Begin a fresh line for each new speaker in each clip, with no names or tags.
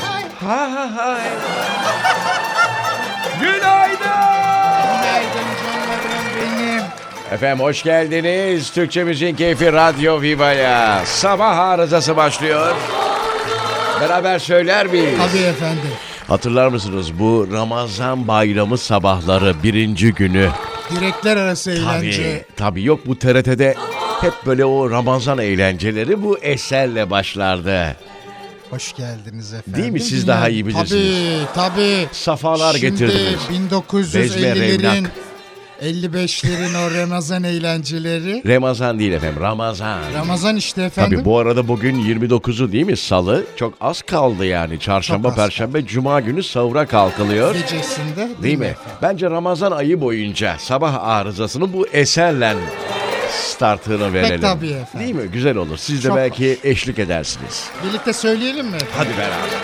Ha ha ha. Günaydın.
Günaydın canlarım benim.
Efendim hoş geldiniz. Türkçemizin keyfi Radyo Viva'ya. Sabah arızası başlıyor. Beraber söyler miyiz?
Tabii efendim.
Hatırlar mısınız bu Ramazan bayramı sabahları birinci günü?
Direkler arası
Tabii,
eğlence.
tabii yok bu TRT'de hep böyle o Ramazan eğlenceleri bu eserle başlardı.
Hoş geldiniz efendim.
Değil mi? Siz daha iyi bilirsiniz.
Tabii tabii.
Safalar getirdiniz.
Şimdi
Bezme,
1950'lerin
revnak.
55'lerin o Ramazan eğlenceleri.
Ramazan değil efendim Ramazan.
Ramazan işte efendim.
Tabii bu arada bugün 29'u değil mi salı? Çok az kaldı yani. Çarşamba,
Çok az
perşembe, cuma günü sahura kalkılıyor.
gecesinde değil,
Değil mi? Bence Ramazan ayı boyunca sabah arızasını bu eserle startını verelim.
tabii efendim.
Değil mi? Güzel olur. Siz de
Çok
belki eşlik edersiniz.
Birlikte söyleyelim mi?
Hadi beraber.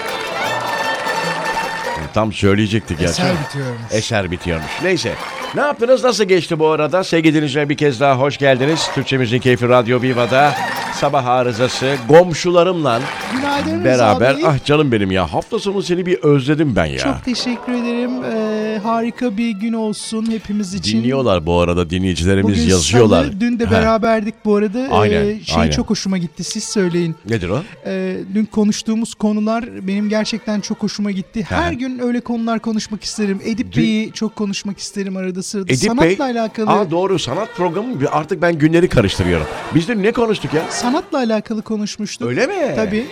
Tam söyleyecekti gerçi.
Eser bitiyormuş.
Eser bitiyormuş. Neyse. Ne yaptınız? Nasıl geçti bu arada? Sevgili dinleyiciler bir kez daha hoş geldiniz. Türkçemizin keyfi Radyo Viva'da. Sabah arızası. Komşularımla
Günaydın
beraber. Ah canım benim ya. Hafta sonu seni bir özledim ben ya.
Çok teşekkür ederim. Ee, harika bir gün olsun hepimiz için.
Dinliyorlar bu arada dinleyicilerimiz
Bugün
yazıyorlar.
salı, dün de
Ha,
beraberdik bu arada. Ee,
Aynen,
şey
aynen.
çok hoşuma gitti. Siz söyleyin.
Nedir o?
Ee, dün konuştuğumuz konular benim gerçekten çok hoşuma gitti.
Ha.
Her gün öyle konular konuşmak isterim. Edip
Dün-
Bey'i çok konuşmak isterim arada sırada.
Edip
Sanatla
Bey.
alakalı.
Aa doğru sanat programı artık ben günleri karıştırıyorum. Biz dün ne konuştuk ya?
Sanatla alakalı konuşmuştuk.
Öyle mi?
Tabii.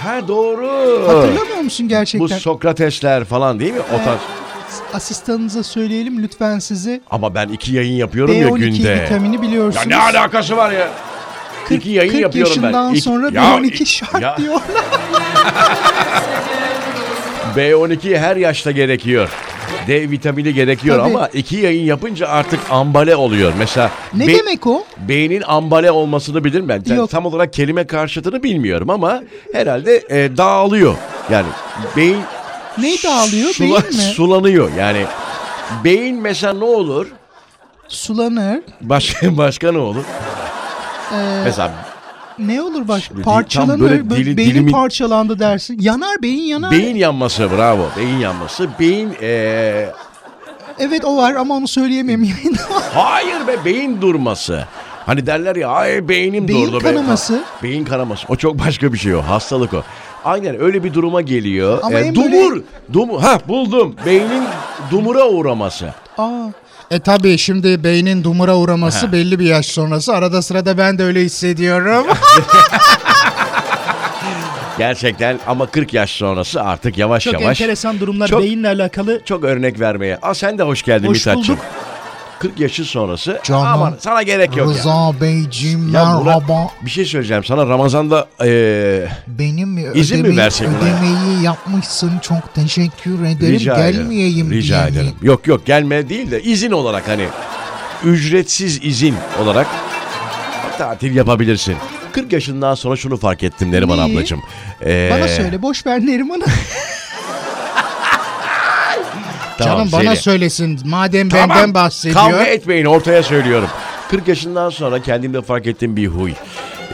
Ha doğru.
Hatırlamıyor musun
Bu
gerçekten?
Sokratesler falan değil mi? O tarz.
Asistanınıza söyleyelim lütfen size.
Ama ben iki yayın yapıyorum ya
B12
günde.
vitamini
Ya
biliyorsunuz.
ne alakası var ya?
40,
İki yayın
40
yapıyorum ben.
yaşından
İki-
sonra
Ya,
B12
i-
şart
ya.
diyorlar.
B12 her yaşta gerekiyor. D vitamini gerekiyor
Tabii.
ama iki yayın yapınca artık ambale oluyor. Mesela
Ne
be-
demek o?
beynin ambale olmasını bilirim ben. Ben
Yok.
Tam olarak kelime karşıtını bilmiyorum ama herhalde e, dağılıyor. Yani beyin
Neyi dağılıyor? Beyin
sula-
mi?
sulanıyor. Yani beyin mesela ne olur?
Sulanır.
Başka başka ne olur?
Ee,
mesela
Ne olur baş?
Şimdi
Parçalanır.
tam böyle
böyle
dili-
beynim
dilimin-
parçalandı dersin. Yanar beyin yanar.
beyin yanması bravo. Beyin yanması. Beyin e,
Evet o var ama onu söyleyemem yayında.
Hayır be beyin durması. Hani derler ya ay beynim
Beyin
durdu be."
kanaması.
Beyin kanaması. O çok başka bir şey o. Hastalık o. Aynen öyle bir duruma geliyor. E,
Ama en
dumur.
böyle-
Dumur. Ha buldum. Beynin dumura uğraması.
Aa,
E tabii şimdi beynin dumura uğraması belli bir yaş sonrası. Arada sırada ben de öyle hissediyorum.
Gerçekten ama 40 yaş sonrası artık yavaş
çok
yavaş.
enteresan durumlar
Çok-
beyinle alakalı.
Çok örnek vermeye. Aa sen de hoş geldin
Hoş
Mithatçığım.
bulduk.
40 yaşı sonrası.
Canım.
Aman sana gerek yok ya.
Rıza Beyciğim
Ya
merhaba.
Murat, bir şey söyleyeceğim sana Ramazan'da e, eee
Benim mi
İzin mi
ödemeyi,
versek buna ya?
ödemeyi yapmışsın çok teşekkür ederim.
Rica
Gelmeyeyim
ederim. Rica
diye mi?
ederim. Yok yok gelme değil de izin olarak hani ücretsiz izin olarak tatil yapabilirsin. 40 yaşından sonra şunu fark ettim Neriman
Neyi?
ablacığım. Ee,
Bana söyle boş ver Neriman'ı.
tamam,
Canım bana
söyle.
söylesin madem
Tamam,
benden bahsediyor.
Kavga etmeyin ortaya söylüyorum. 40 yaşından sonra kendimde fark ettiğim bir huy.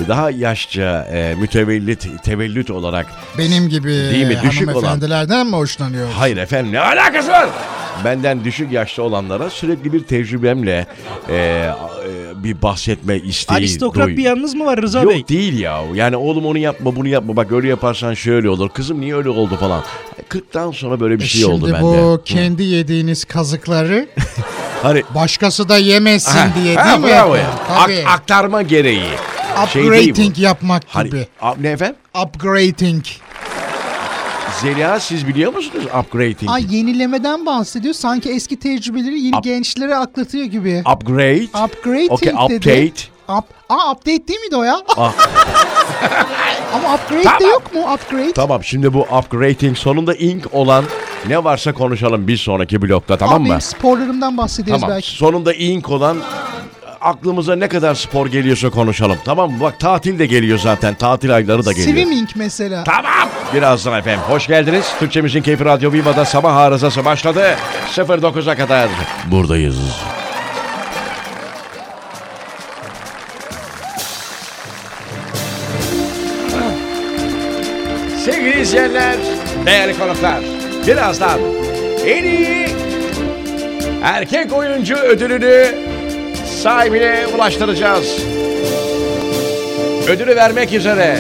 Daha yaşça e, mütevellit, tevellüt olarak.
Benim gibi
Değil mi? Düşük olan.
hanımefendilerden mi hoşlanıyor?
Hayır efendim ne alakası var? Benden düşük yaşta olanlara sürekli bir tecrübemle e, e, bir bahsetme isteği
Aristokrat
duy-
bir yanınız mı var Rıza
Yok
Bey?
değil ya. Yani oğlum onu yapma bunu yapma. Bak öyle yaparsan şöyle olur. Kızım niye öyle oldu falan. 40'tan sonra böyle bir
E
şey
Şimdi
oldu bende.
bu kendi yediğiniz kazıkları
Hani
başkası da yemesin
Ha,
diye
ha,
değil mi?
bravo ya.
efendim? Tabii.
Ak- aktarma gereği. Şey değil bu.
Upgrading yapmak
Hani,
gibi.
a- ne efendim?
Upgrading.
Zeliha siz biliyor musunuz upgrading?
Ay yenilemeden bahsediyor. Sanki eski tecrübeleri yeni
Up-
gençlere aklatıyor gibi.
Upgrade.
Upgrading
Okay,
dedi.
update.
Up, aa update değil miydi o ya?
Ah.
Ama upgrade de
Tamam.
yok mu? Upgrade.
Tamam şimdi bu upgrading sonunda ink olan ne varsa konuşalım bir sonraki blokta tamam
Abi
mı?
benim sporlarımdan bahsederiz
Tamam.
belki.
Sonunda ink olan aklımıza ne kadar spor geliyorsa konuşalım. Tamam mı? Bak tatil de geliyor zaten. Tatil ayları da geliyor.
Swimming mesela.
Tamam. Birazdan efendim. Hoş geldiniz. Türkçemizin Keyfi Radyo Viva'da sabah arızası başladı. 09'a kadar buradayız. Sevgili dinleyenler, değerli konuklar. Birazdan en iyi erkek oyuncu ödülünü sahibine ulaştıracağız. Ödülü vermek üzere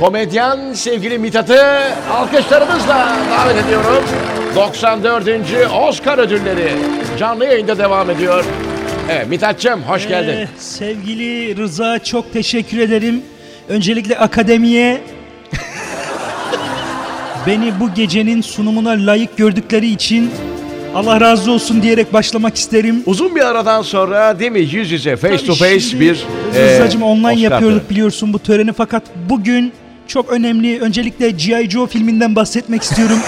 komedyen sevgili Mithat'ı alkışlarımızla davet ediyorum. 94. Oscar ödülleri canlı yayında devam ediyor. Evet Mithat'cığım hoş geldin.
Ee, sevgili Rıza çok teşekkür ederim. Öncelikle akademiye beni bu gecenin sunumuna layık gördükleri için Allah razı olsun diyerek başlamak isterim.
Uzun bir aradan sonra değil mi yüz yüze face to face
Şimdi
bir
Rızacığım
e,
online
Oscar
yapıyorduk
töreni.
biliyorsun bu töreni fakat bugün çok önemli. Öncelikle G.I. Joe filminden bahsetmek istiyorum.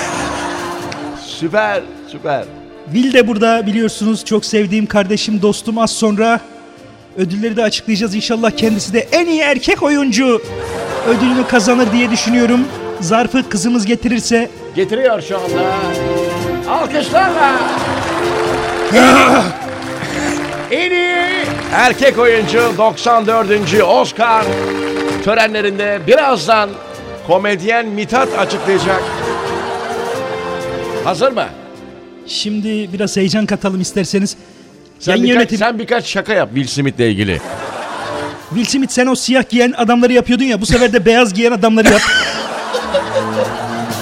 Süper süper.
Will de burada biliyorsunuz çok sevdiğim kardeşim dostum az sonra ödülleri de açıklayacağız inşallah kendisi de en iyi erkek oyuncu ödülünü kazanır diye düşünüyorum. Zarfı kızımız getirirse
Getiriyor şu anda. Alkışlarla. en iyi erkek oyuncu 94. Oscar törenlerinde birazdan komedyen Mithat açıklayacak. Hazır mı?
şimdi biraz heyecan katalım isterseniz.
Sen,
Yan
birkaç,
yönetim-
sen birkaç şaka yap Will Smith'le ilgili.
Will Smith sen o siyah giyen adamları yapıyordun ya bu sefer de beyaz giyen adamları yap.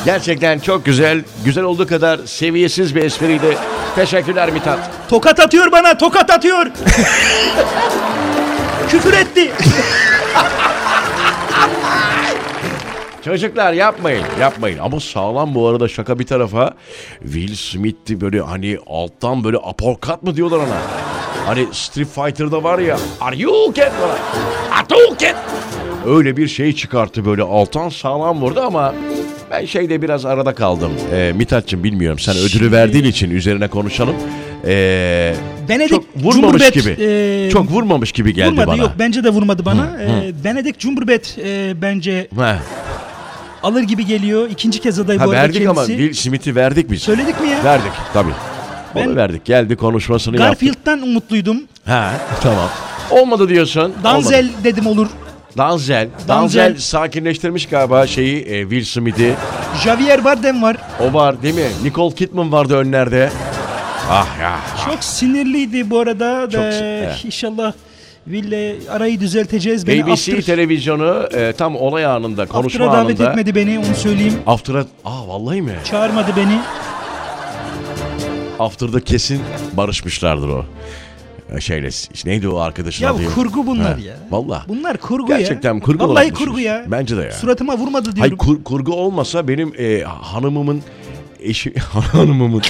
Gerçekten çok güzel, güzel olduğu kadar seviyesiz bir espriydi. Teşekkürler Mithat.
Tokat atıyor bana tokat atıyor. Küfür etti.
Çocuklar yapmayın, yapmayın. Ama sağlam bu arada şaka bir tarafa. Will Smith'ti böyle hani alttan böyle apokat mı diyorlar ona. Hani Street Fighter'da var ya. Are you okay falan. Are you okay? Öyle bir şey çıkarttı böyle alttan sağlam vurdu ama ben şeyde biraz arada kaldım. Ee, Mithat'cığım bilmiyorum sen ödülü verdiğin için üzerine konuşalım. Ee,
Benedik
çok vurmamış
Cumhurbaşkanı-
gibi.
Ee,
çok vurmamış gibi geldi
vurmadı
bana.
yok bence de vurmadı bana. Ee, Benedict Cumberbatch e, bence
Heh.
alır gibi geliyor. İkinci kez aday
Ha
bu arada
verdik
kendisi.
ama Will Smith'i verdik biz.
Söyledik mi ya?
Verdik tabii. Onu
Ben-
verdik. Geldi konuşmasını yaptı.
Garfield'dan umutluydum.
Ha tamam. Olmadı diyorsun.
Danzel
Olmadı.
dedim olur.
Danzel. Danzel.
Danzel.
sakinleştirmiş galiba şeyi e, Will Smith'i.
Javier Bardem var.
O var değil mi? Nicole Kidman vardı önlerde. Ah ya.
Çok sinirliydi bu arada.
Çok
Ee,
sin- evet.
İnşallah Will'le arayı düzelteceğiz. Beni
BBC
after,
televizyonu e, tam olay anında, konuşma
after'a davet
anında.
etmedi beni onu söyleyeyim.
After'a... Aa vallahi mi?
Çağırmadı beni.
After'da kesin barışmışlardır o. E, Şeyle, neydi o arkadaşın
Ya
adı?
kurgu bunlar
Ha,
ya.
Vallahi.
Bunlar kurgu ya.
Gerçekten kurgu
Vallahi
olabilir.
kurgu ya.
Bence de ya.
Suratıma vurmadı diyorum.
Hayır kur- kurgu olmasa benim e, hanımımın eşi hanımımın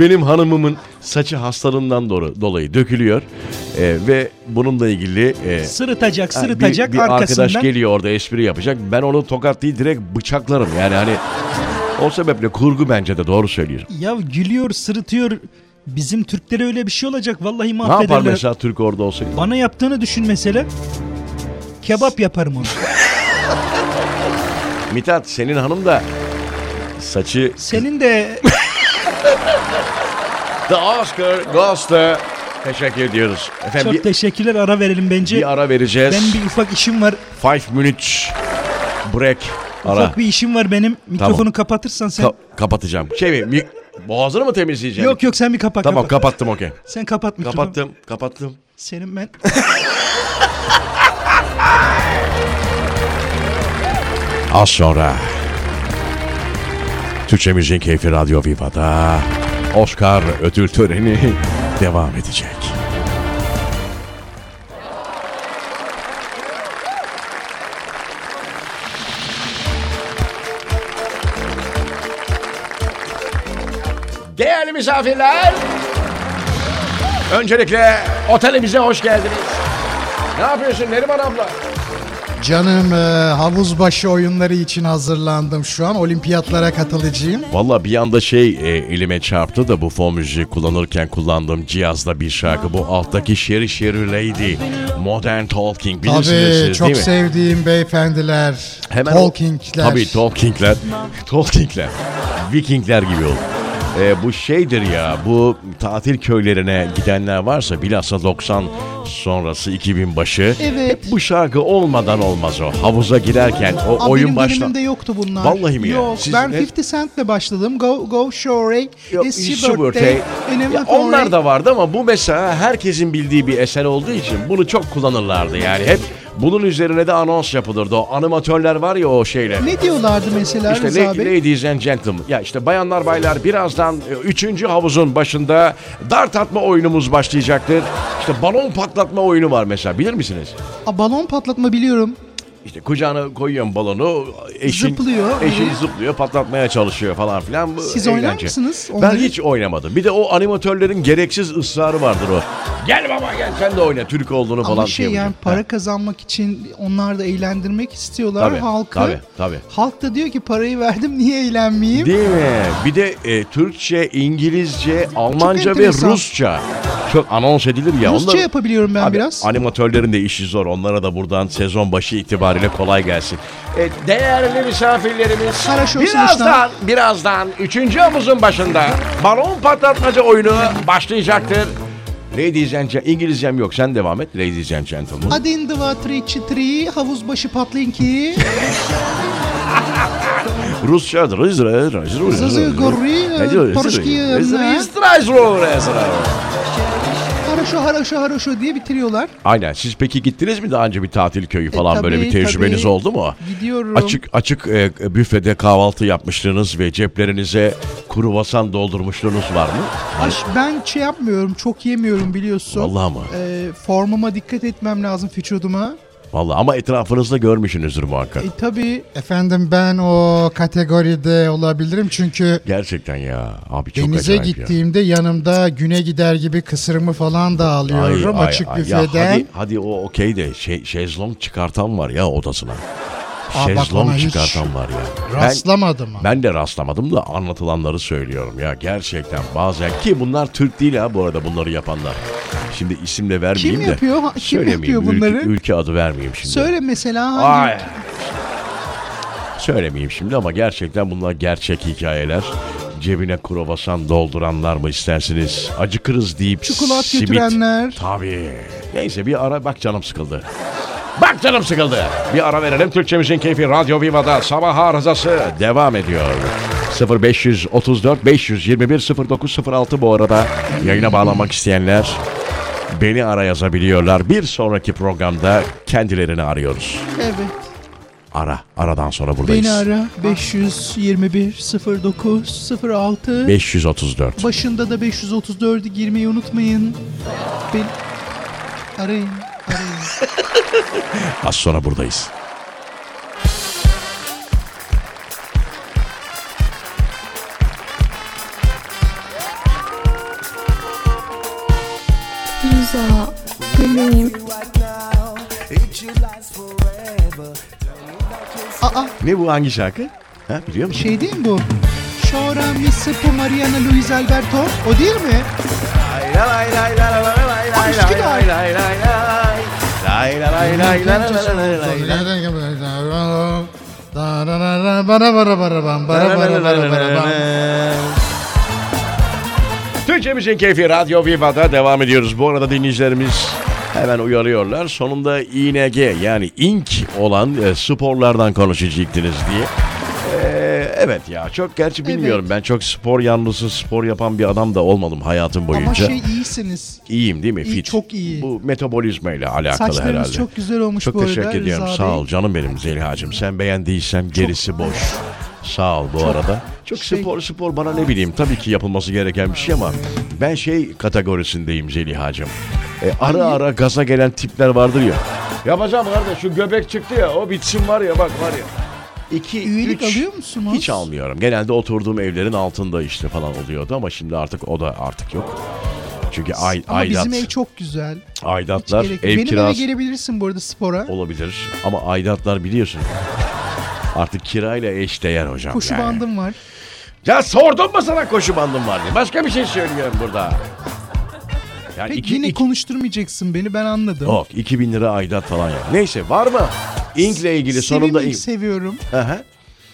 benim hanımımın saçı hastalığından doğru, dolayı dökülüyor E, ve bununla ilgili e,
Sırıtacak,
ha, bir-
sırıtacak
bir,
arkasından.
arkadaş geliyor orada espri yapacak. Ben onu tokat değil direkt bıçaklarım yani hani o sebeple kurgu bence de doğru söylüyorsun.
Ya gülüyor, sırıtıyor. Bizim Türklere öyle bir şey olacak. Vallahi
Ne yapar
mahvederler.
mesela Türk orada olsaydı?
Bana yaptığını düşün mesela. Kebap yaparım onu.
Mithat senin hanım da saçı
Senin de
The Oscar goes to- Teşekkür ediyoruz. Efendim
çok
bir,
teşekkürler. Ara verelim bence.
bir ara vereceğiz.
Ben bir ufak işim var.
Five minutes break. Ara.
Ufak bir işim var benim. Mikrofonu kapatırsan sen.
Ka- kapatacağım. Şey mi? mi- Boğazını mı temizleyeceğim?
Yok yok sen bir kapat.
Tamam
kapat.
kapattım okey.
Sen kapat mikrofonu.
Kapattım, kapattım.
Senin ben.
Az sonra Türkçe Müziğin Keyfi Radyo Viva'da Oscar ödül töreni devam edecek. Değerli misafirler, öncelikle otelimize hoş geldiniz. Ne yapıyorsun Neriman abla?
Canım e, havuz başı oyunları için hazırlandım şu an. Olimpiyatlara katılacağım.
Valla bir anda şey e, elime çarptı da bu fon müziği kullanırken kullandığım cihazda bir şarkı. Bu alttaki Sherry Sherry Lady. Modern Talking bilirsiniz
Tabii
siz
çok
değil mi?
sevdiğim beyefendiler,
Hemen o-
talkingler.
Tabii Talkingler. Talkingler. Vikingler gibi oldu. E, bu şeydir ya bu tatil köylerine gidenler varsa bilhassa 90 sonrası 2000 başı.
Evet.
Hep bu şarkı olmadan olmaz o. Havuza girerken o
Aa,
oyun
benim
başla.
dönemimde yoktu bunlar.
Vallahi mi ya?
Yok
Siz
ben
ne-
50 Cent'le başladım. Go, go Shorey,
Yok,
It's
It's
Your
Your
Birthday,
Birthday.
and I'm
Ya
not
onlar
worried.
da vardı ama bu mesela herkesin bildiği bir eser olduğu için bunu çok kullanırlardı yani hep bunun üzerine de anons yapılırdı o animatörler var ya o şeyle.
Ne diyorlardı mesela
İşte
Rıza
la-
Bey?
ladies and gentlemen. Ya işte bayanlar baylar birazdan 3. havuzun başında dart atma oyunumuz başlayacaktır. İşte balon patlatma oyunu var mesela bilir misiniz?
Aa, balon patlatma biliyorum.
İşte kucağına koyuyorsun balonu eşin,
Zıplıyor.
eşin
Ee?
zıplıyor patlatmaya çalışıyor falan filan. Bu
Siz oynar
eğlence.
mısınız
Ben
onları?
hiç oynamadım. Bir de o animatörlerin gereksiz ısrarı vardır o. Gel baba gel sen de oyna Türk olduğunu falan
Ama şey yani
yapacak.
para
Ha.
kazanmak için onlar da eğlendirmek istiyorlar
Tabii,
halkı.
tabii, tabii.
Halk da diyor ki parayı verdim niye eğlenmeyeyim?
Değil mi? Bir de e, Türkçe, İngilizce, Almanca ve
enteresan.
Rusça. Çok anons edilir ya.
Rusça
Onlar-
yapabiliyorum ben
Abi,
biraz.
Animatörlerin de işi zor. Onlara da buradan sezon başı itibariyle kolay gelsin. E, değerli misafirlerimiz
Хорошо,
birazdan, birazdan 3. havuzun başında balon patlatmaca oyunu başlayacaktır. Ladies and gen- İngilizcem yok. Sen devam et. Ladies and gentlemen.
Hadi indi vatri çitri havuz başı patlayın ki.
Rusça.
Haroşo haroşo haroşo diye bitiriyorlar.
Aynen. Siz peki gittiniz mi daha önce bir tatil
E,
köyü falan böyle
tabii,
bir tecrübeniz
tabii.
oldu mu?
Gidiyorum.
Açık açık e, büfede kahvaltı yapmışlığınız ve ceplerinize kruvasan doldurmuşluğunuz var mı?
Aş, ben şey yapmıyorum çok yemiyorum biliyorsun.
Vallahi mı?
Ee, formuma dikkat etmem lazım vücuduma.
Vallahi ama etrafınızda görmüşsünüzdür muhakkak.
E tabii
Efendim ben o kategoride olabilirim çünkü
Gerçekten ya. Abi çok
denize
acayip ya.
gittiğimde yanımda güne gider gibi kısırımı falan da alıyorum
Ay, ay,
açık
ay. Ya
büfeden.
hadi, hadi o okey de şey, şezlong çıkartan var ya odasına.
Aa, bak ona
şezlong
hiç
çıkartan var ya. Ben-
Rastlamadım. ama.
Ben de rastlamadım da anlatılanları söylüyorum ya gerçekten bazen ki bunlar Türk değil ha bu arada bunları yapanlar. Şimdi isim de vermeyeyim
Kim
de.
yapıyor? Ha- kim
Söylemeyeyim,
yapıyor
ülke-
bunları?
Ülke, adı vermeyeyim şimdi.
söyle mesela hani hangi-
Ay. Söylemeyeyim şimdi ama gerçekten bunlar gerçek hikayeler. Cebine kruvasan dolduranlar mı istersiniz? Acıkırız deyip
Çikolat
simit.
götürenler.
Tabii. Neyse bir ara bak canım sıkıldı. Bak canım sıkıldı. Bir ara verelim. Türkçemizin keyfi Radyo Viva'da sabah arızası devam ediyor. 0534 521 0906 bu arada yayına bağlanmak isteyenler beni ara yazabiliyorlar. Bir sonraki programda kendilerini arıyoruz.
Evet.
Ara. Aradan sonra buradayız.
Beni ara 521 09 06
534.
Başında da 534'ü girmeyi unutmayın. Beni arayın. arayın.
Az sonra buradayız.
Rıza, bebeğim.
Aa
Ne bu hangi şarkı? Ha, biliyor musun?
şey değil mi bu? Şora Missipo Mariana Luis Alberto o değil mi?
Türkçemizin keyfi Radyo Viva'da devam ediyoruz. Bu arada dinleyicilerimiz hemen uyarıyorlar. Sonunda ING yani ink olan e, sporlardan konuşacaktınız diye. Ee, evet ya çok gerçi bilmiyorum. Ben çok spor yanlısı spor yapan bir adam da olmadım hayatım boyunca.
Ama şey iyisiniz.
İyiyim değil mi?
İyi,
Fit.
çok iyi.
Bu metabolizma ile alakalı
Saçlarınız
herhalde.
çok güzel olmuş
Çok
bu arada
teşekkür ediyorum.
Rıza
Sağ
Bey.
ol canım benim Zeliha'cığım. Sen beğendiysem gerisi boş. Sağ ol bu arada. Çok
şey-
spor spor bana ne bileyim tabii ki yapılması gereken bir şey ama ben şey kategorisindeyim Zeliha'cığım. E, ara ara gaza gelen tipler vardır ya. Yapacağım kardeş şu göbek çıktı ya o bitsin var ya bak var ya. İki,
Üyelik
üç,
alıyor musunuz?
Hiç almıyorum. Genelde oturduğum evlerin altında işte falan oluyordu ama şimdi artık o da artık yok. Çünkü ay,
Ama
aidat,
bizim ev çok güzel. Hiç
aidatlar,
gerek-
ev
Benim
kirası
eve gelebilirsin bu arada spora.
olabilir. Ama aidatlar biliyorsun. Artık kirayla eş değer hocam.
Koşu
yani.
bandım var.
Ya sordum mu sana koşu bandım var diye. Başka bir şey söylüyorum burada. Yani
Peki
iki,
yine
iki,
konuşturmayacaksın beni ben anladım.
Yok, 2000 lira aidat falan ya. Neyse var mı? İnk'le ilgili
Sevimli
sonunda ink.
seviyorum.
Hı hı.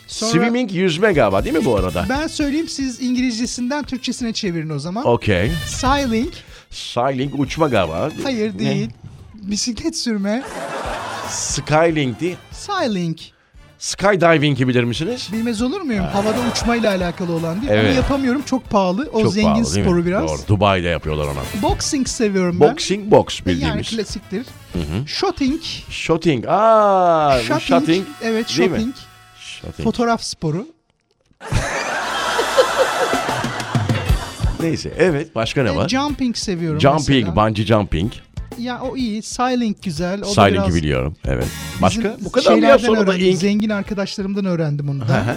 Sonra-
Swimming yüzme galiba değil mi bu arada?
Ben söyleyeyim siz İngilizcesinden Türkçesine çevirin o zaman.
Okey.
Sailing.
Sailing uçma galiba.
Hayır
Ne?
değil. Bisiklet sürme.
Skyling değil.
Sailing.
Skydiving'i bilir misiniz?
Bilmez olur muyum? Havada uçmayla alakalı olan değil.
Evet.
Onu yapamıyorum. Çok pahalı. O
Çok
zengin
pahalı, değil mi?
sporu biraz.
Doğru. Dubai'de yapıyorlar ona.
Boxing seviyorum ben.
Boxing box E,
Yani
bildiğimiz.
klasiktir. Shooting.
Shooting. Aa,
Shopping.
shooting.
Evet
Değil mi?
shopping.
Shooting.
Fotoğraf sporu.
Neyse evet başka ne
E,
var?
jumping seviyorum
jumping,
mesela.
bungee jumping.
Ya o iyi. Sailing güzel. O da
Sailing'i
biraz
biliyorum. Evet.
bizim
Başka? Bu kadar mı ya
şeylerden
sonra da
öğrendim.
ink?
Zengin arkadaşlarımdan öğrendim onu
Hı
da.
hı.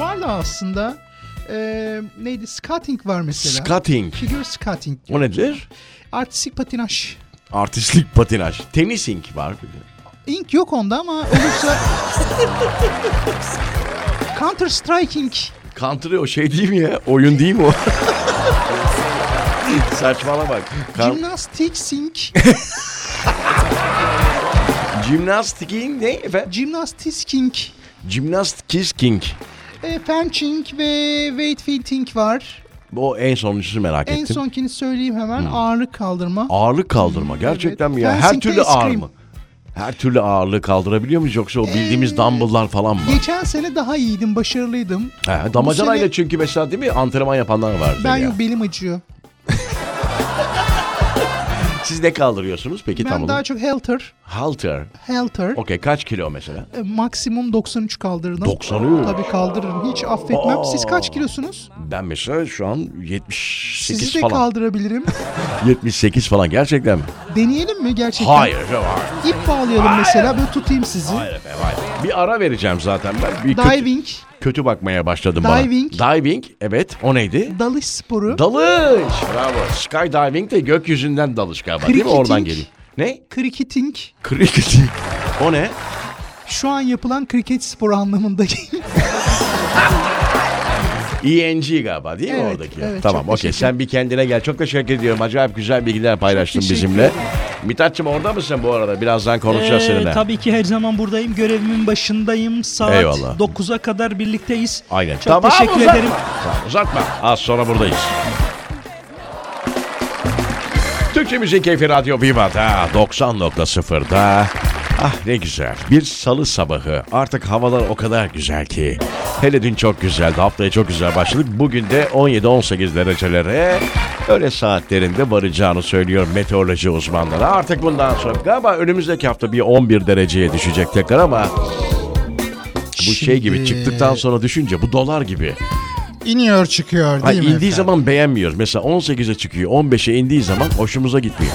Valla aslında e, neydi? Skating var mesela.
Skating.
Figür skating.
O nedir?
Artistik patinaj.
Artistlik patinaj. Tenis ink var.
Ink yok onda ama olursa... Counter Striking.
Country o şey değil mi ya? Oyun değil mi o? Saçmalama bak. Kan-
Gymnastik sink.
Jimnastikin ne efendim?
Gymnastisking.
Jimnastisking.
E, Benching ve weightlifting var.
O en sonuncusu merak
En
ettim.
sonkini söyleyeyim hemen. Ağırlık kaldırma.
Ağırlık kaldırma gerçekten mi ya?
Ben
Her
single
türlü ağır
scream.
mı? Her türlü ağırlığı kaldırabiliyor muyuz yoksa o bildiğimiz
Ee,
dumbbell'lar falan mı?
Geçen sene daha iyiydim, başarılıydım.
He,
bu
damacanayla
sene-
çünkü mesela değil mi antrenman yapanlar vardı
Ben
ya.
yok belim acıyor.
Siz ne kaldırıyorsunuz peki
ben
tam olarak?
daha çok helter,
Halter.
helter.
Okey kaç kilo mesela?
E, maksimum 93 kaldırdım.
93.
Tabii kaldırırım. Hiç affetmem.
Aa.
Siz kaç kilosunuz?
Ben mesela şu an 78
Sizi de
falan.
kaldırabilirim.
78 falan gerçekten mi?
Deneyelim mi gerçekten?
Hayır efendim, hayır.
İp bağlayalım mesela. Böyle tutayım sizi.
Hayır efendim, hayır. Bir ara vereceğim zaten ben. Bir kötü-
Diving,
Kötü bakmaya başladım
Diving.
bana. Diving. Evet. O neydi?
dalış sporu.
Dalış. Bravo. Skydiving de gökyüzünden dalış galiba değil mi?
Cricketing.
Oradan geliyor. Ne?
Cricketing.
Cricketing. O ne?
Şu an yapılan kriket sporu anlamında geliyor.
ENG E galiba değil mi
Evet,
oradaki?
evet,
tamam
çok
okey
teşekkür-
sen bir kendine gel. Çok teşekkür ediyorum. Acayip güzel bilgiler paylaştın
teşekkür
bizimle. Mithatçım orada mısın bu arada? Birazdan konuşacağız
Ee,
seninle.
tabii ki her zaman buradayım. Görevimin başındayım. Saat
Eyvallah.
9'a kadar birlikteyiz.
Aynen.
Çok
Tamam,
teşekkür
uzatma.
ederim.
Tamam, uzatma. Az sonra buradayız. Türkçe Müzik Keyfi Radyo Viva'da 90.0'da Ah ne güzel. Bir salı sabahı. Artık havalar o kadar güzel ki. Hele dün çok güzeldi. Haftaya çok güzel başladık. Bugün de 17-18 derecelere öyle saatlerinde varacağını söylüyor meteoroloji uzmanları. Artık bundan sonra galiba önümüzdeki hafta bir 11 dereceye düşecek tekrar ama bu şey gibi
Şimdi-
çıktıktan sonra düşünce bu dolar gibi.
İniyor çıkıyor
Hani
değil mi
indiği
efendim?
zaman beğenmiyoruz. Mesela 18'e çıkıyor, 15'e indiği zaman hoşumuza gitmiyor.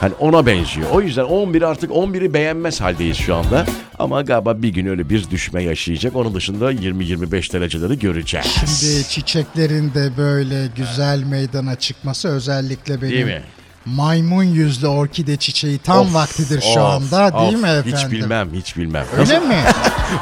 Hani ona benziyor. O yüzden 11 artık 11'i beğenmez haldeyiz şu anda. Ama galiba bir gün öyle bir düşme yaşayacak. Onun dışında 20-25 dereceleri göreceğiz.
Şimdi çiçeklerin de böyle güzel meydana çıkması özellikle benim
Değil mi?
maymun yüzlü orkide çiçeği tam
Of,
vaktidir şu
of,
anda değil
of.
mi efendim?
Hiç bilmem, hiç bilmem.
Öyle mi?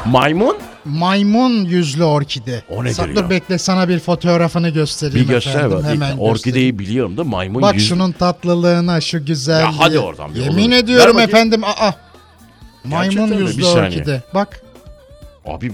Maymun?
Maymun yüzlü orkide.
O nedir
Sa-
ya?
Dur bekle sana bir fotoğrafını göstereyim
Bir göster
efendim.
bak.
Hemen
Orkideyi
göstereyim.
biliyorum da maymun
Bak
yüz-
şunun tatlılığına şu güzelliği.
Ya hadi oradan bir
Yemin
olur.
ediyorum
Ver bakayım.
efendim. Aa. Maymun
Gerçekten mi?
yüzlü
Bir saniye.
orkide. Bak
Abi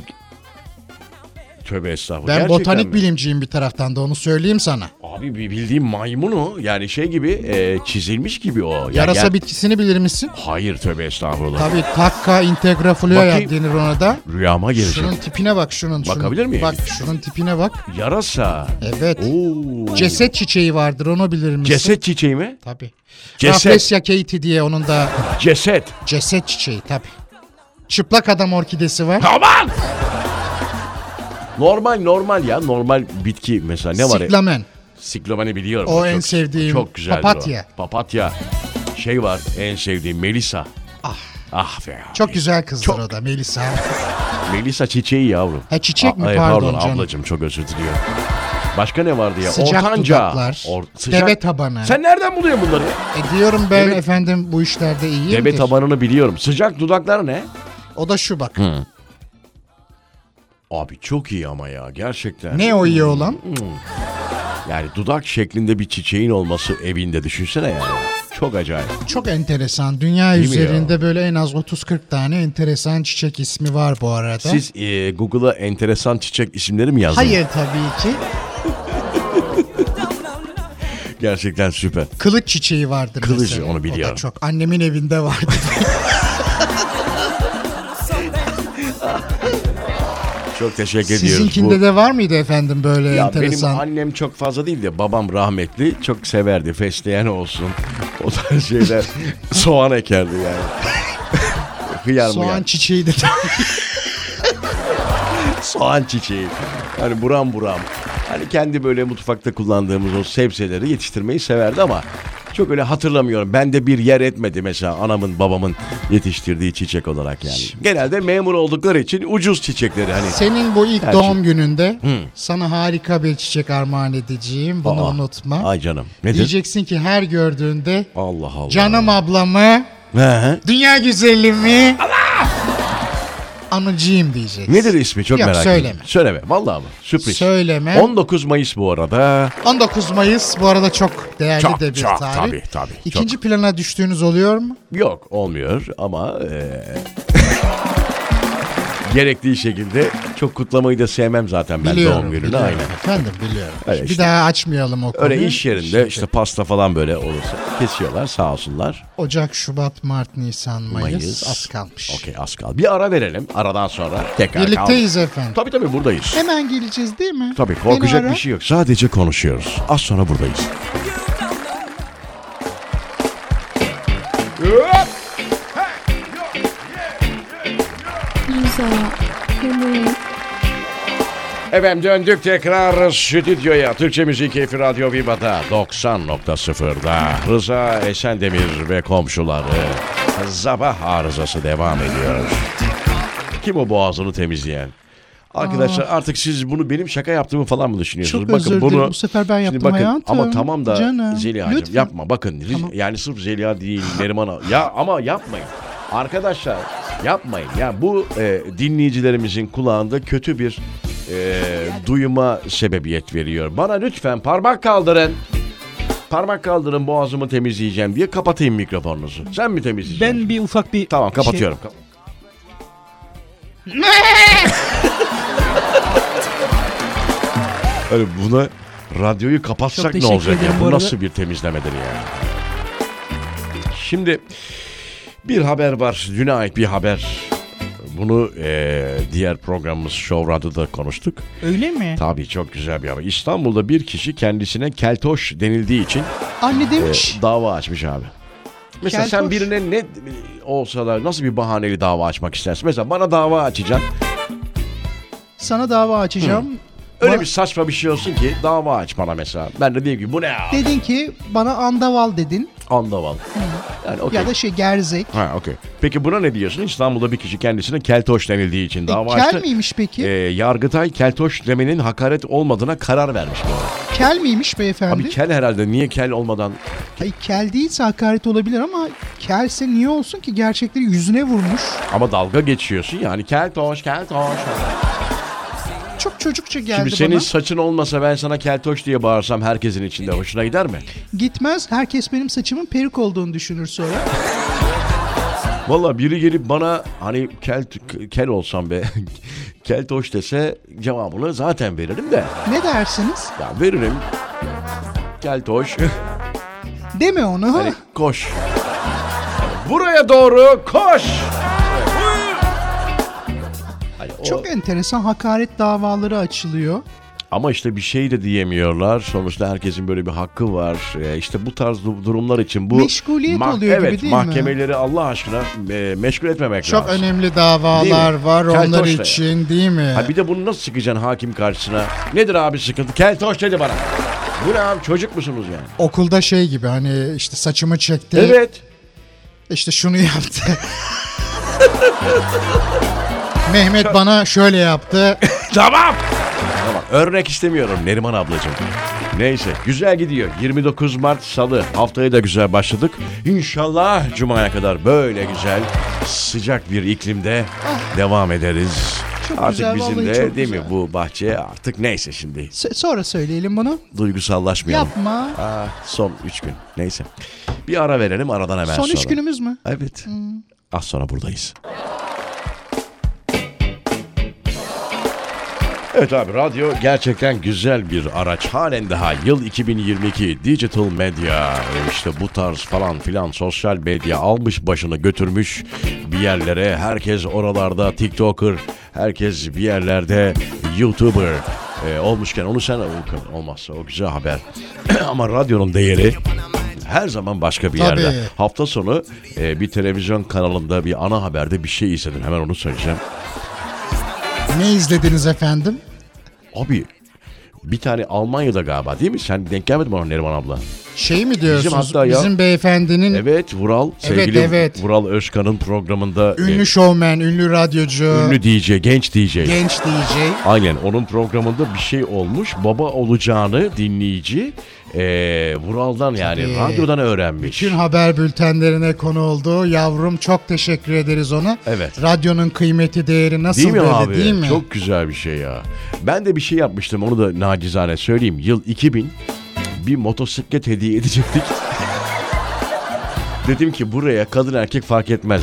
Tövbe estağfurullah.
ben
Gerçekten
botanik
mi?
bilimciyim bir taraftan da onu söyleyeyim sana.
Abi bir bildiğim maymun o. Yani şey gibi e, çizilmiş gibi o. Yani
Yarasa
ger-
bitkisini bilir misin?
Hayır tövbe estağfurullah.
Tabii takka integrafulia
Bakayım.
denir ona da.
Rüyama girecek.
Şunun tipine bak şunun. şunun.
Bakabilir miyim?
Bak şunun tipine bak.
Yarasa.
Evet.
Oo.
Ceset çiçeği vardır onu bilir misin?
Ceset çiçeği mi?
Tabii.
Ceset.
Rafflesia keiti diye onun da
Ceset.
ceset çiçeği tabii. Çıplak adam orkidesi var.
Aman! Normal normal ya. Normal bitki mesela ne var ya?
Siklamen.
Siklameni biliyorum.
O en sevdiğim
Çok güzel.
papatya.
Papatya. Şey var en sevdiğim Melisa. Ah. Ah be. abi.
Çok güzel kızdır
Çok-
o da Melisa.
Melisa çiçeği yavrum.
Ha, çiçek mi?
ay,
Pardon canım.
ablacığım çok özür diliyorum. Başka ne vardı ya?
Sıcak
Ortanca.
dudaklar, deve tabanı.
Sen nereden buluyorsun bunları?
E diyorum ben
Evet.
efendim bu işlerde iyiyim.
Deve tabanını biliyorum. Sıcak dudaklar ne?
O da şu bak.
Abi çok iyi ama ya gerçekten.
Ne o iyi olan?
Yani dudak şeklinde bir çiçeğin olması evinde düşünsene yani. Çok acayip.
Çok enteresan. Dünya
Değil mi
üzerinde böyle en az 30-40 tane enteresan çiçek ismi var bu arada.
Siz e, Google'a enteresan çiçek isimleri mi yazdınız?
Hayır tabii ki.
Gerçekten süper.
Kılıç çiçeği vardır
Kılıç,
mesela.
onu
O da
biliyorum.
çok. Annemin evinde vardı.
Çok teşekkür ediyoruz.
Sizinkinde
Bu-
de var mıydı efendim böyle
Ya
enteresan?
benim annem çok fazla değil de babam rahmetli çok severdi. Fesleğen olsun. O tarz şeyler. Soğan ekerdi yani. Hıyar mı
Soğan
yani?
çiçeği de.
Soğan çiçeği. Hani buram buram. Hani kendi böyle mutfakta kullandığımız o sebzeleri yetiştirmeyi severdi ama çok öyle hatırlamıyorum. Bende bir yer etmedi mesela anamın babamın yetiştirdiği çiçek olarak yani. Genelde memur oldukları için ucuz çiçekleri hani.
Senin bu ilk
Her şey.
doğum gününde sana harika bir çiçek armağan edeceğim. Bunu
Aa,
unutma.
Ay canım. Nedir?
Diyeceksin ki her gördüğünde
Allah Allah.
canım ablamı,
He he.
dünya güzelimi anacığım diyeceksin.
Nedir ismi çok
Yok,
merak
söyleme.
ediyorum. Söyleme. Vallahi mı? Sürpriz.
Söyleme.
19 Mayıs bu arada.
19 Mayıs bu arada çok değerli
Çok,
de bir
çok,
tarih.
tabii, tabii, çok.
İkinci plana düştüğünüz oluyor mu?
Yok olmuyor ama eee, gerektiği şekilde çok kutlamayı da sevmem zaten ben
biliyorum.
doğum gününü
biliyorum
aynen.
Efendim biliyorum.
Öyle
bir
işte.
daha açmayalım o konuyu.
Öyle iş yerinde işte pasta falan böyle olursa kesiyorlar sağ olsunlar.
Ocak, Şubat, Mart, Nisan, Mayıs,
Mayıs.
az kalmış.
Okey az kal. Bir ara verelim aradan sonra tekrar
Birlikteyiz
kal-
efendim.
Tabii tabii buradayız.
Hemen geleceğiz değil mi?
Tabii
Beni
korkacak
ara.
bir şey yok. Sadece konuşuyoruz. Az sonra buradayız.
Yüz ağa gülüyor.
Efendim döndük tekrar stüdyoya. Türkçe Müzik Keyfi Radyo Viva'da 90.0'da. Rıza Esendemir ve komşuları. Sabah arızası devam ediyor. Kim o boğazını temizleyen? Arkadaşlar artık siz bunu benim şaka yaptığımı falan mı düşünüyorsunuz?
Çok özür dilerim. Bu sefer ben
Şimdi
yaptım hayatım.
Ama tamam da
Canım,
Zeliha'cığım
lütfen.
yapma bakın. Riz- Yani sırf Zeliha değil Neriman Hanım. Ya ama yapmayın. Arkadaşlar yapmayın. Ya bu e, dinleyicilerimizin kulağında kötü bir e, duyuma sebebiyet veriyor. Bana lütfen parmak kaldırın. Parmak kaldırın boğazımı temizleyeceğim diye kapatayım mikrofonunuzu. Sen mi temizleyeceksin?
Ben bir ufak bir
Tamam
şey-
kapatıyorum. Öyle buna radyoyu kapatsak
Çok
ne
teşekkür
olacak ya?
ederim bu
Bu
arada.
nasıl bir temizlemedir ya? Şimdi bir haber var. Düne ait bir haber. Bunu eee, diğer programımız Show Radyo'da konuştuk.
Öyle mi?
Tabii çok güzel bir haber. İstanbul'da bir kişi kendisine keltoş denildiği için
Anne
e,
demiş.
dava açmış abi. Mesela sen
Keltoş.
birine ne olsa da nasıl bir bahaneli dava açmak istersin? Mesela bana dava açacaksın.
Sana dava açacağım.
Öyle
Bana-
bir saçma bir şey olsun ki dava aç bana mesela. Ben de diyeyim ki bu ne ya?
Dedin ki bana andaval dedin.
Andaval. Yani okey.
Ya da şey gerzek.
Ha okey. Peki buna ne diyorsun? İstanbul'da bir kişi kendisine keltoş denildiği için dava
E, kel
açtı.
miymiş peki?
Ee, Yargıtay keltoş demenin hakaret olmadığına karar vermiş. bu arada.
kel miymiş beyefendi?
Abi kel herhalde niye kel olmadan
Ay, kel değilse hakaret olabilir ama kelse niye olsun ki gerçekleri yüzüne vurmuş.
ama dalga geçiyorsun yani keltoş keltoş.
Çok çocukça geldi
Şimdi senin
bana.
saçın olmasa ben sana keltoş diye bağırsam herkesin içinde hoşuna gider mi?
Gitmez herkes benim saçımın perik olduğunu düşünür sonra.
Valla biri gelip bana hani kel, kel olsam be keltoş dese cevabını zaten veririm de.
ne dersiniz?
Ya veririm. Keltoş.
Deme onu. ha.
Hani koş. Buraya doğru koş. Hani o-
Çok enteresan hakaret davaları açılıyor.
Ama işte bir şey de diyemiyorlar. Sonuçta herkesin böyle bir hakkı var. Ee, işte bu tarz du- durumlar için bu...
Meşguliyet oluyor gibi
evet,
değil mi?
mahkemeleri Allah aşkına e, meşgul etmemek
Çok
lazım.
önemli davalar
Değil mi?
var
Keltoş
onlar
da ya.
için değil mi?
Ha bir de bunu nasıl çıkacaksın hakim karşısına? Nedir abi sıkıntı? Keltoş dedi bana. Bu ne abi çocuk musunuz yani?
Okulda şey gibi hani işte saçımı çekti,
Evet.
işte şunu yaptı. Mehmet bana şöyle yaptı.
Tamam. Tamam, örnek istemiyorum Neriman ablacığım. Neyse güzel gidiyor. 29 Mart Salı. Haftaya da güzel başladık. İnşallah Cuma'ya kadar böyle güzel sıcak bir iklimde devam ederiz.
Çok
artık
güzel,
bizim
vallahi
de
çok
değil mi
güzel.
bu bahçe artık neyse şimdi
S- sonra söyleyelim bunu.
duygusallaşmayalım.
Yapma.
Aa, son 3 gün neyse. Bir ara verelim aradan hemen
Son
sonra.
üç Hmm. günümüz mü?
Evet. Az sonra buradayız. Evet abi radyo gerçekten güzel bir araç. Halen daha yıl 2022 digital medya işte bu tarz falan filan sosyal medya almış başını götürmüş bir yerlere. Herkes oralarda TikToker, herkes bir yerlerde YouTuber e, olmuşken onu sen olmazsa o güzel haber. Ama radyonun değeri her zaman başka bir
Tabii.
yerde. Hafta sonu e, bir televizyon kanalında bir ana haberde bir şey izledim. Hemen onu söyleyeceğim.
Ne izlediniz efendim?
Abi bir tane Almanya'da galiba değil mi? Sen denk gelmedin mi ona Neriman abla?
Şey mi diyorsunuz? Bizim,
hatta ya-
beyefendinin
Evet Vural. Sevgili
evet.
Vural Özkan'ın programında e,
ünlü şovmen, ünlü radyocu,
ünlü DJ, genç DJ.
genç DJ.
Aynen onun programında bir şey olmuş. Baba olacağını dinleyici e, Vural'dan yani
Tabii.
radyodan öğrenmiş.
Bütün haber bültenlerine konu oldu. Yavrum çok teşekkür ederiz ona.
Evet.
Radyonun kıymeti, değeri nasıl
Değil mi
böyle
abi?
değil mi?
Çok güzel bir şey ya. Ben de bir şey yapmıştım onu da nacizane söyleyeyim. Yıl 2000 bir motosiklet hediye edecektik. Dedim ki buraya kadın erkek fark etmez.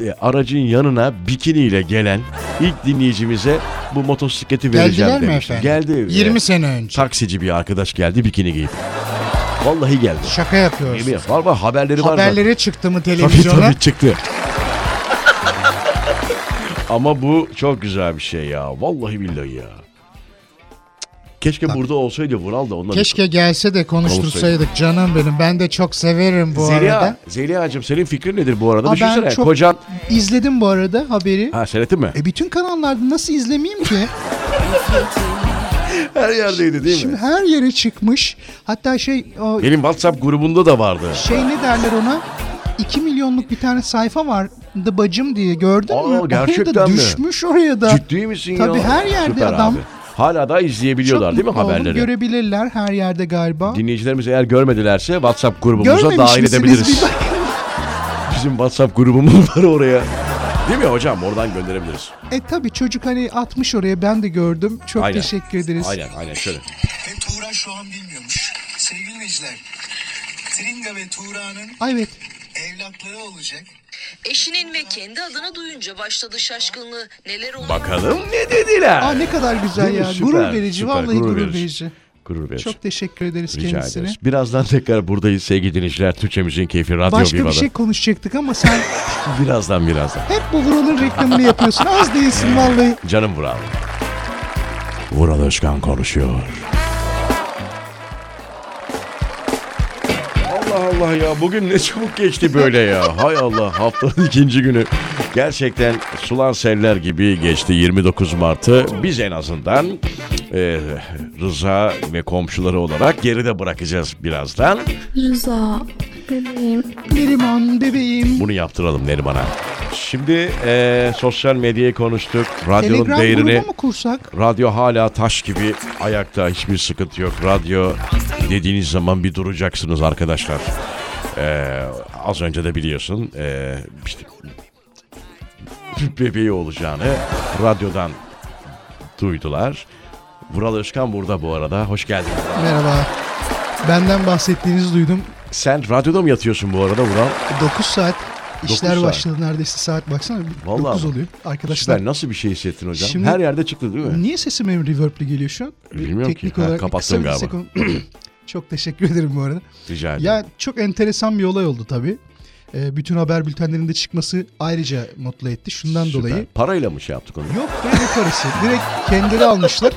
E, Aracın yanına bikiniyle gelen ilk dinleyicimize bu motosikleti vereceğim
Geldiler mi
demiştim.
efendim?
Geldi.
20
E,
sene önce.
Taksici bir arkadaş geldi bikini giyip. Vallahi geldi.
Şaka
Yemin
yapıyorsun.
ederim. Var var haberleri var. zaten.
Haberlere çıktı mı
Tabii
televizyona?
tabii çıktı. Ama bu çok güzel bir şey ya. Vallahi billahi ya. Keşke burada olsaydı Vural da onunla bir-
Keşke gelse de konuştursaydık canım benim. Ben de çok severim bu
Zeliha,
arada.
Zeliha'cığım senin fikrin nedir bu arada?
Aa, ben
Düşünsene
çok-
kocan...
İzledim bu arada haberi.
Ha seyrettin mi?
E bütün kanallarda nasıl izlemeyeyim ki?
Her yerdeydi değil
Şimdi
mi?
her yere çıkmış. Hatta şey o
Benim WhatsApp grubunda da vardı.
şey ne derler ona? 2 milyonluk bir tane sayfa vardı bacım diye gördün
Aa,
mü? Oraya da
gerçekten mi?
düşmüş oraya da.
Ciddi misin ya?
Tabii her yerde
Süper
adam-
abi. Hala da izleyebiliyorlar değil mi
mutlu oldum.
haberleri?
Görebilirler her yerde galiba.
Dinleyicilerimiz eğer görmedilerse WhatsApp grubumuza
Görmemiş
dahil
misiniz?
edebiliriz.
Bir bak-
Bizim WhatsApp grubumuz var oraya. Değil mi hocam? Oradan gönderebiliriz.
E tabii çocuk hani atmış oraya ben de gördüm. Çok
Aynen.
teşekkür ederiz.
Aynen aynen şöyle.
Hem Tuğra şu an bilmiyormuş. Sevgili dinleyiciler, Tringa ve Tuğra'nın
Ay evet.
evlatları olacak.
Eşinin ve kendi adını duyunca başladı şaşkınlığı. Neler oldu?
Bakalım ne dediler.
Aa ne kadar güzel
Değil mi?
ya.
Süper,
gurur verici
süper.
vallahi
Gurur
gurur,
verici.
verici.
Gurur verici.
Çok teşekkür ederiz
Rica
kendisine.
ederiz. Birazdan tekrar buradayız sevgili dinleyiciler. Türkçemizin keyfi radyo
Başka
Viva'da.
bir şey konuşacaktık ama sen
Birazdan birazdan.
hep bu Vural'ın reklamını yapıyorsun. Az değilsin vallahi.
Canım Vural. Vural Özkan konuşuyor. Allah Allah ya bugün ne çabuk geçti böyle ya. Hay Allah haftanın ikinci günü. Gerçekten sulan seller gibi geçti 29 Mart'ı. Biz en azından e, Rıza ve komşuları olarak geride bırakacağız birazdan.
Rıza bebeğim
Neriman bebeğim.
Bunu yaptıralım Neriman'a. Şimdi e, sosyal medyayı konuştuk. Radyonun
Telegram
değerini...
grubu mu kursak?
Radyo hala taş gibi ayakta hiçbir sıkıntı yok. Radyo dediğiniz zaman bir duracaksınız arkadaşlar. Ee, az önce de biliyorsun ee, işte bebeği olacağını radyodan duydular. Vural Özkan burada bu arada. Hoş geldin.
Merhaba. Benden bahsettiğinizi duydum.
Sen radyoda mı yatıyorsun bu arada Vural?
9 saat işler
saat.
başladı neredeyse saat baksana.
Vallahi
9
mi?
oluyor arkadaşlar.
Süper. Nasıl bir şey hissettin hocam?
Şimdi-
Her yerde çıktı değil mi?
Niye sesim hem reverb'li geliyor şu an? Bir
Bilmiyorum ki. Ha,
olarak
kapattım
kısa bir
galiba.
sekon- Çok teşekkür ederim bu arada.
Rica ederim.
Ya çok enteresan bir olay oldu tabii. Ee, bütün haber bültenlerinde çıkması ayrıca mutlu etti. Şundan
Süper.
dolayı
Parayla mı şey yaptık onu?
Yok be ne parası. Direkt kendileri almışlar.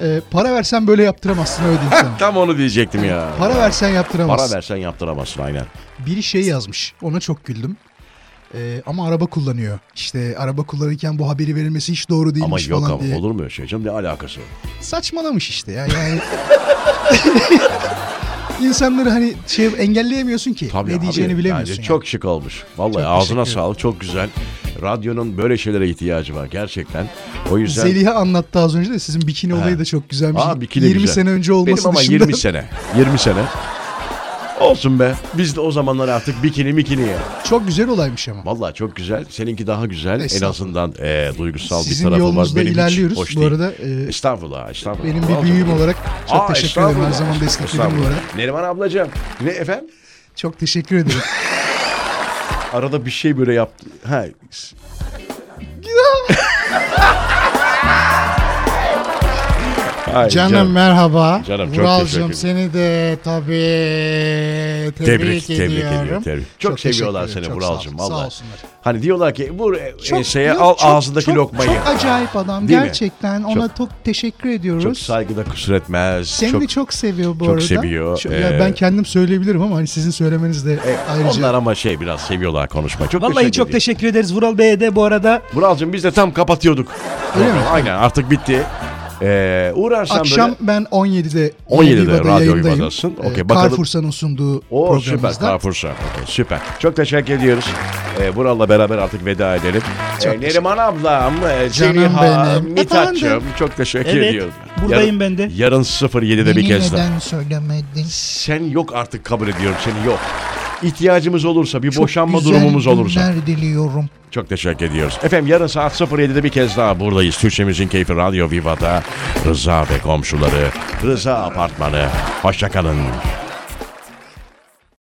Ee, para versen böyle yaptıramazsın öyle diyeyim sana.
Tam onu diyecektim ya.
Para versen
Para
yaptıramazsın.
versen yaptıramazsın aynen.
Biri şey yazmış. Ona çok güldüm. Ee, ama araba kullanıyor. İşte araba kullanırken bu haberi verilmesi hiç doğru değilmiş
Ama yok
falan
ama
diye.
olur mu öyle şey canım ne alakası? var?
Saçmalamış işte ya yani. İnsanları hani şey engelleyemiyorsun ki.
Tabii
ne
abi,
diyeceğini
bence
bilemiyorsun. yani.
Çok şık olmuş. Vallahi ağzına sağlık çok güzel. Radyonun böyle şeylere ihtiyacı var gerçekten. O yüzden...
Zeliha anlattı az önce de sizin bikini olayı da çok güzelmiş.
Aa, bikini
20
güzel.
sene önce olması
Benim ama
dışında.
20 sene. 20 sene. Olsun be. Biz de o zamanlar artık bikini mikini ya.
Çok güzel olaymış ama.
Vallahi çok güzel. Seninki daha güzel. En
Estağfurullah.
azından eee, duygusal
Sizin
bir tarafı var.
yolunuzda
Benim hiç
ilerliyoruz.
hoş
Bu
değil.
arada, eee,
estağfurullah, estağfurullah.
Benim
Vallahi.
bir büyüğüm olarak çok
Aa,
teşekkür ederim. Her
estağfurullah.
zaman destekledim bu
Estağfurullah.
arada.
Neriman ablacığım. Ne efendim?
Çok teşekkür ederim.
Arada bir şey böyle yaptı. Ha. Ay,
Canım, merhaba.
Canım, çok
Vuralcığım
teşekkür
seni de tabii tebrik,
Tebrik, tebrik
ediyorum.
ediyorum. Tebrik. Çok,
Çok
seviyorlar
teşekkür
seni
ederim, çok
Vuralcığım
sağ ol, sağ
vallahi.
olsunlar.
Hani diyorlar ki vur e,
Çok-
şeye
yok,
al
çok-
ağzındaki
çok-
lokmayı.
Çok acayip adam.
Değil mi?
Gerçekten ona çok, teşekkür ediyoruz.
Çok saygıda kusur etmez.
Seni
çok
de çok seviyor bu
çok
arada.
seviyor,
Çok- ya
ee, e,
ben kendim söyleyebilirim ama hani sizin söylemeniz de ayrıca.
Onlar ama şey biraz seviyorlar konuşmayı. Çok
Vallahi çok
ediyorum.
teşekkür ederiz Vural Bey'e de bu arada.
Vuralcığım biz de tam kapatıyorduk.
Öyle mi?
Aynen artık bitti. Ee, uğrarsan
Akşam
böyle...
ben 17'de
17'de
Yeni
Radyo
yayındayım.
Viva'dasın.
Ee,
Okey, bakalım.
Carrefour'un sunduğu
O şey süper
programımızda.
Carrefour'sa. Okey, süper. Çok teşekkür ediyoruz. Ee, Vural'la beraber artık veda edelim. Ee, Neriman ablam, e, Zeliha,
benim.
Mithat'cığım çok teşekkür
Evet,
ediyorum.
buradayım
yarın,
ben de.
Yarın 07'de bir
Beni
kez daha.
neden söylemedin?
Sen yok artık kabul ediyorum seni yok. İhtiyacımız olursa bir
Çok
boşanma
güzel
durumumuz olursa.
günler diliyorum.
Çok teşekkür ediyoruz. Efendim yarın saat 07'de bir kez daha buradayız. Türkçemizin keyfi Radyo Viva'da. Rıza ve komşuları. Rıza Apartmanı. Hoşçakalın.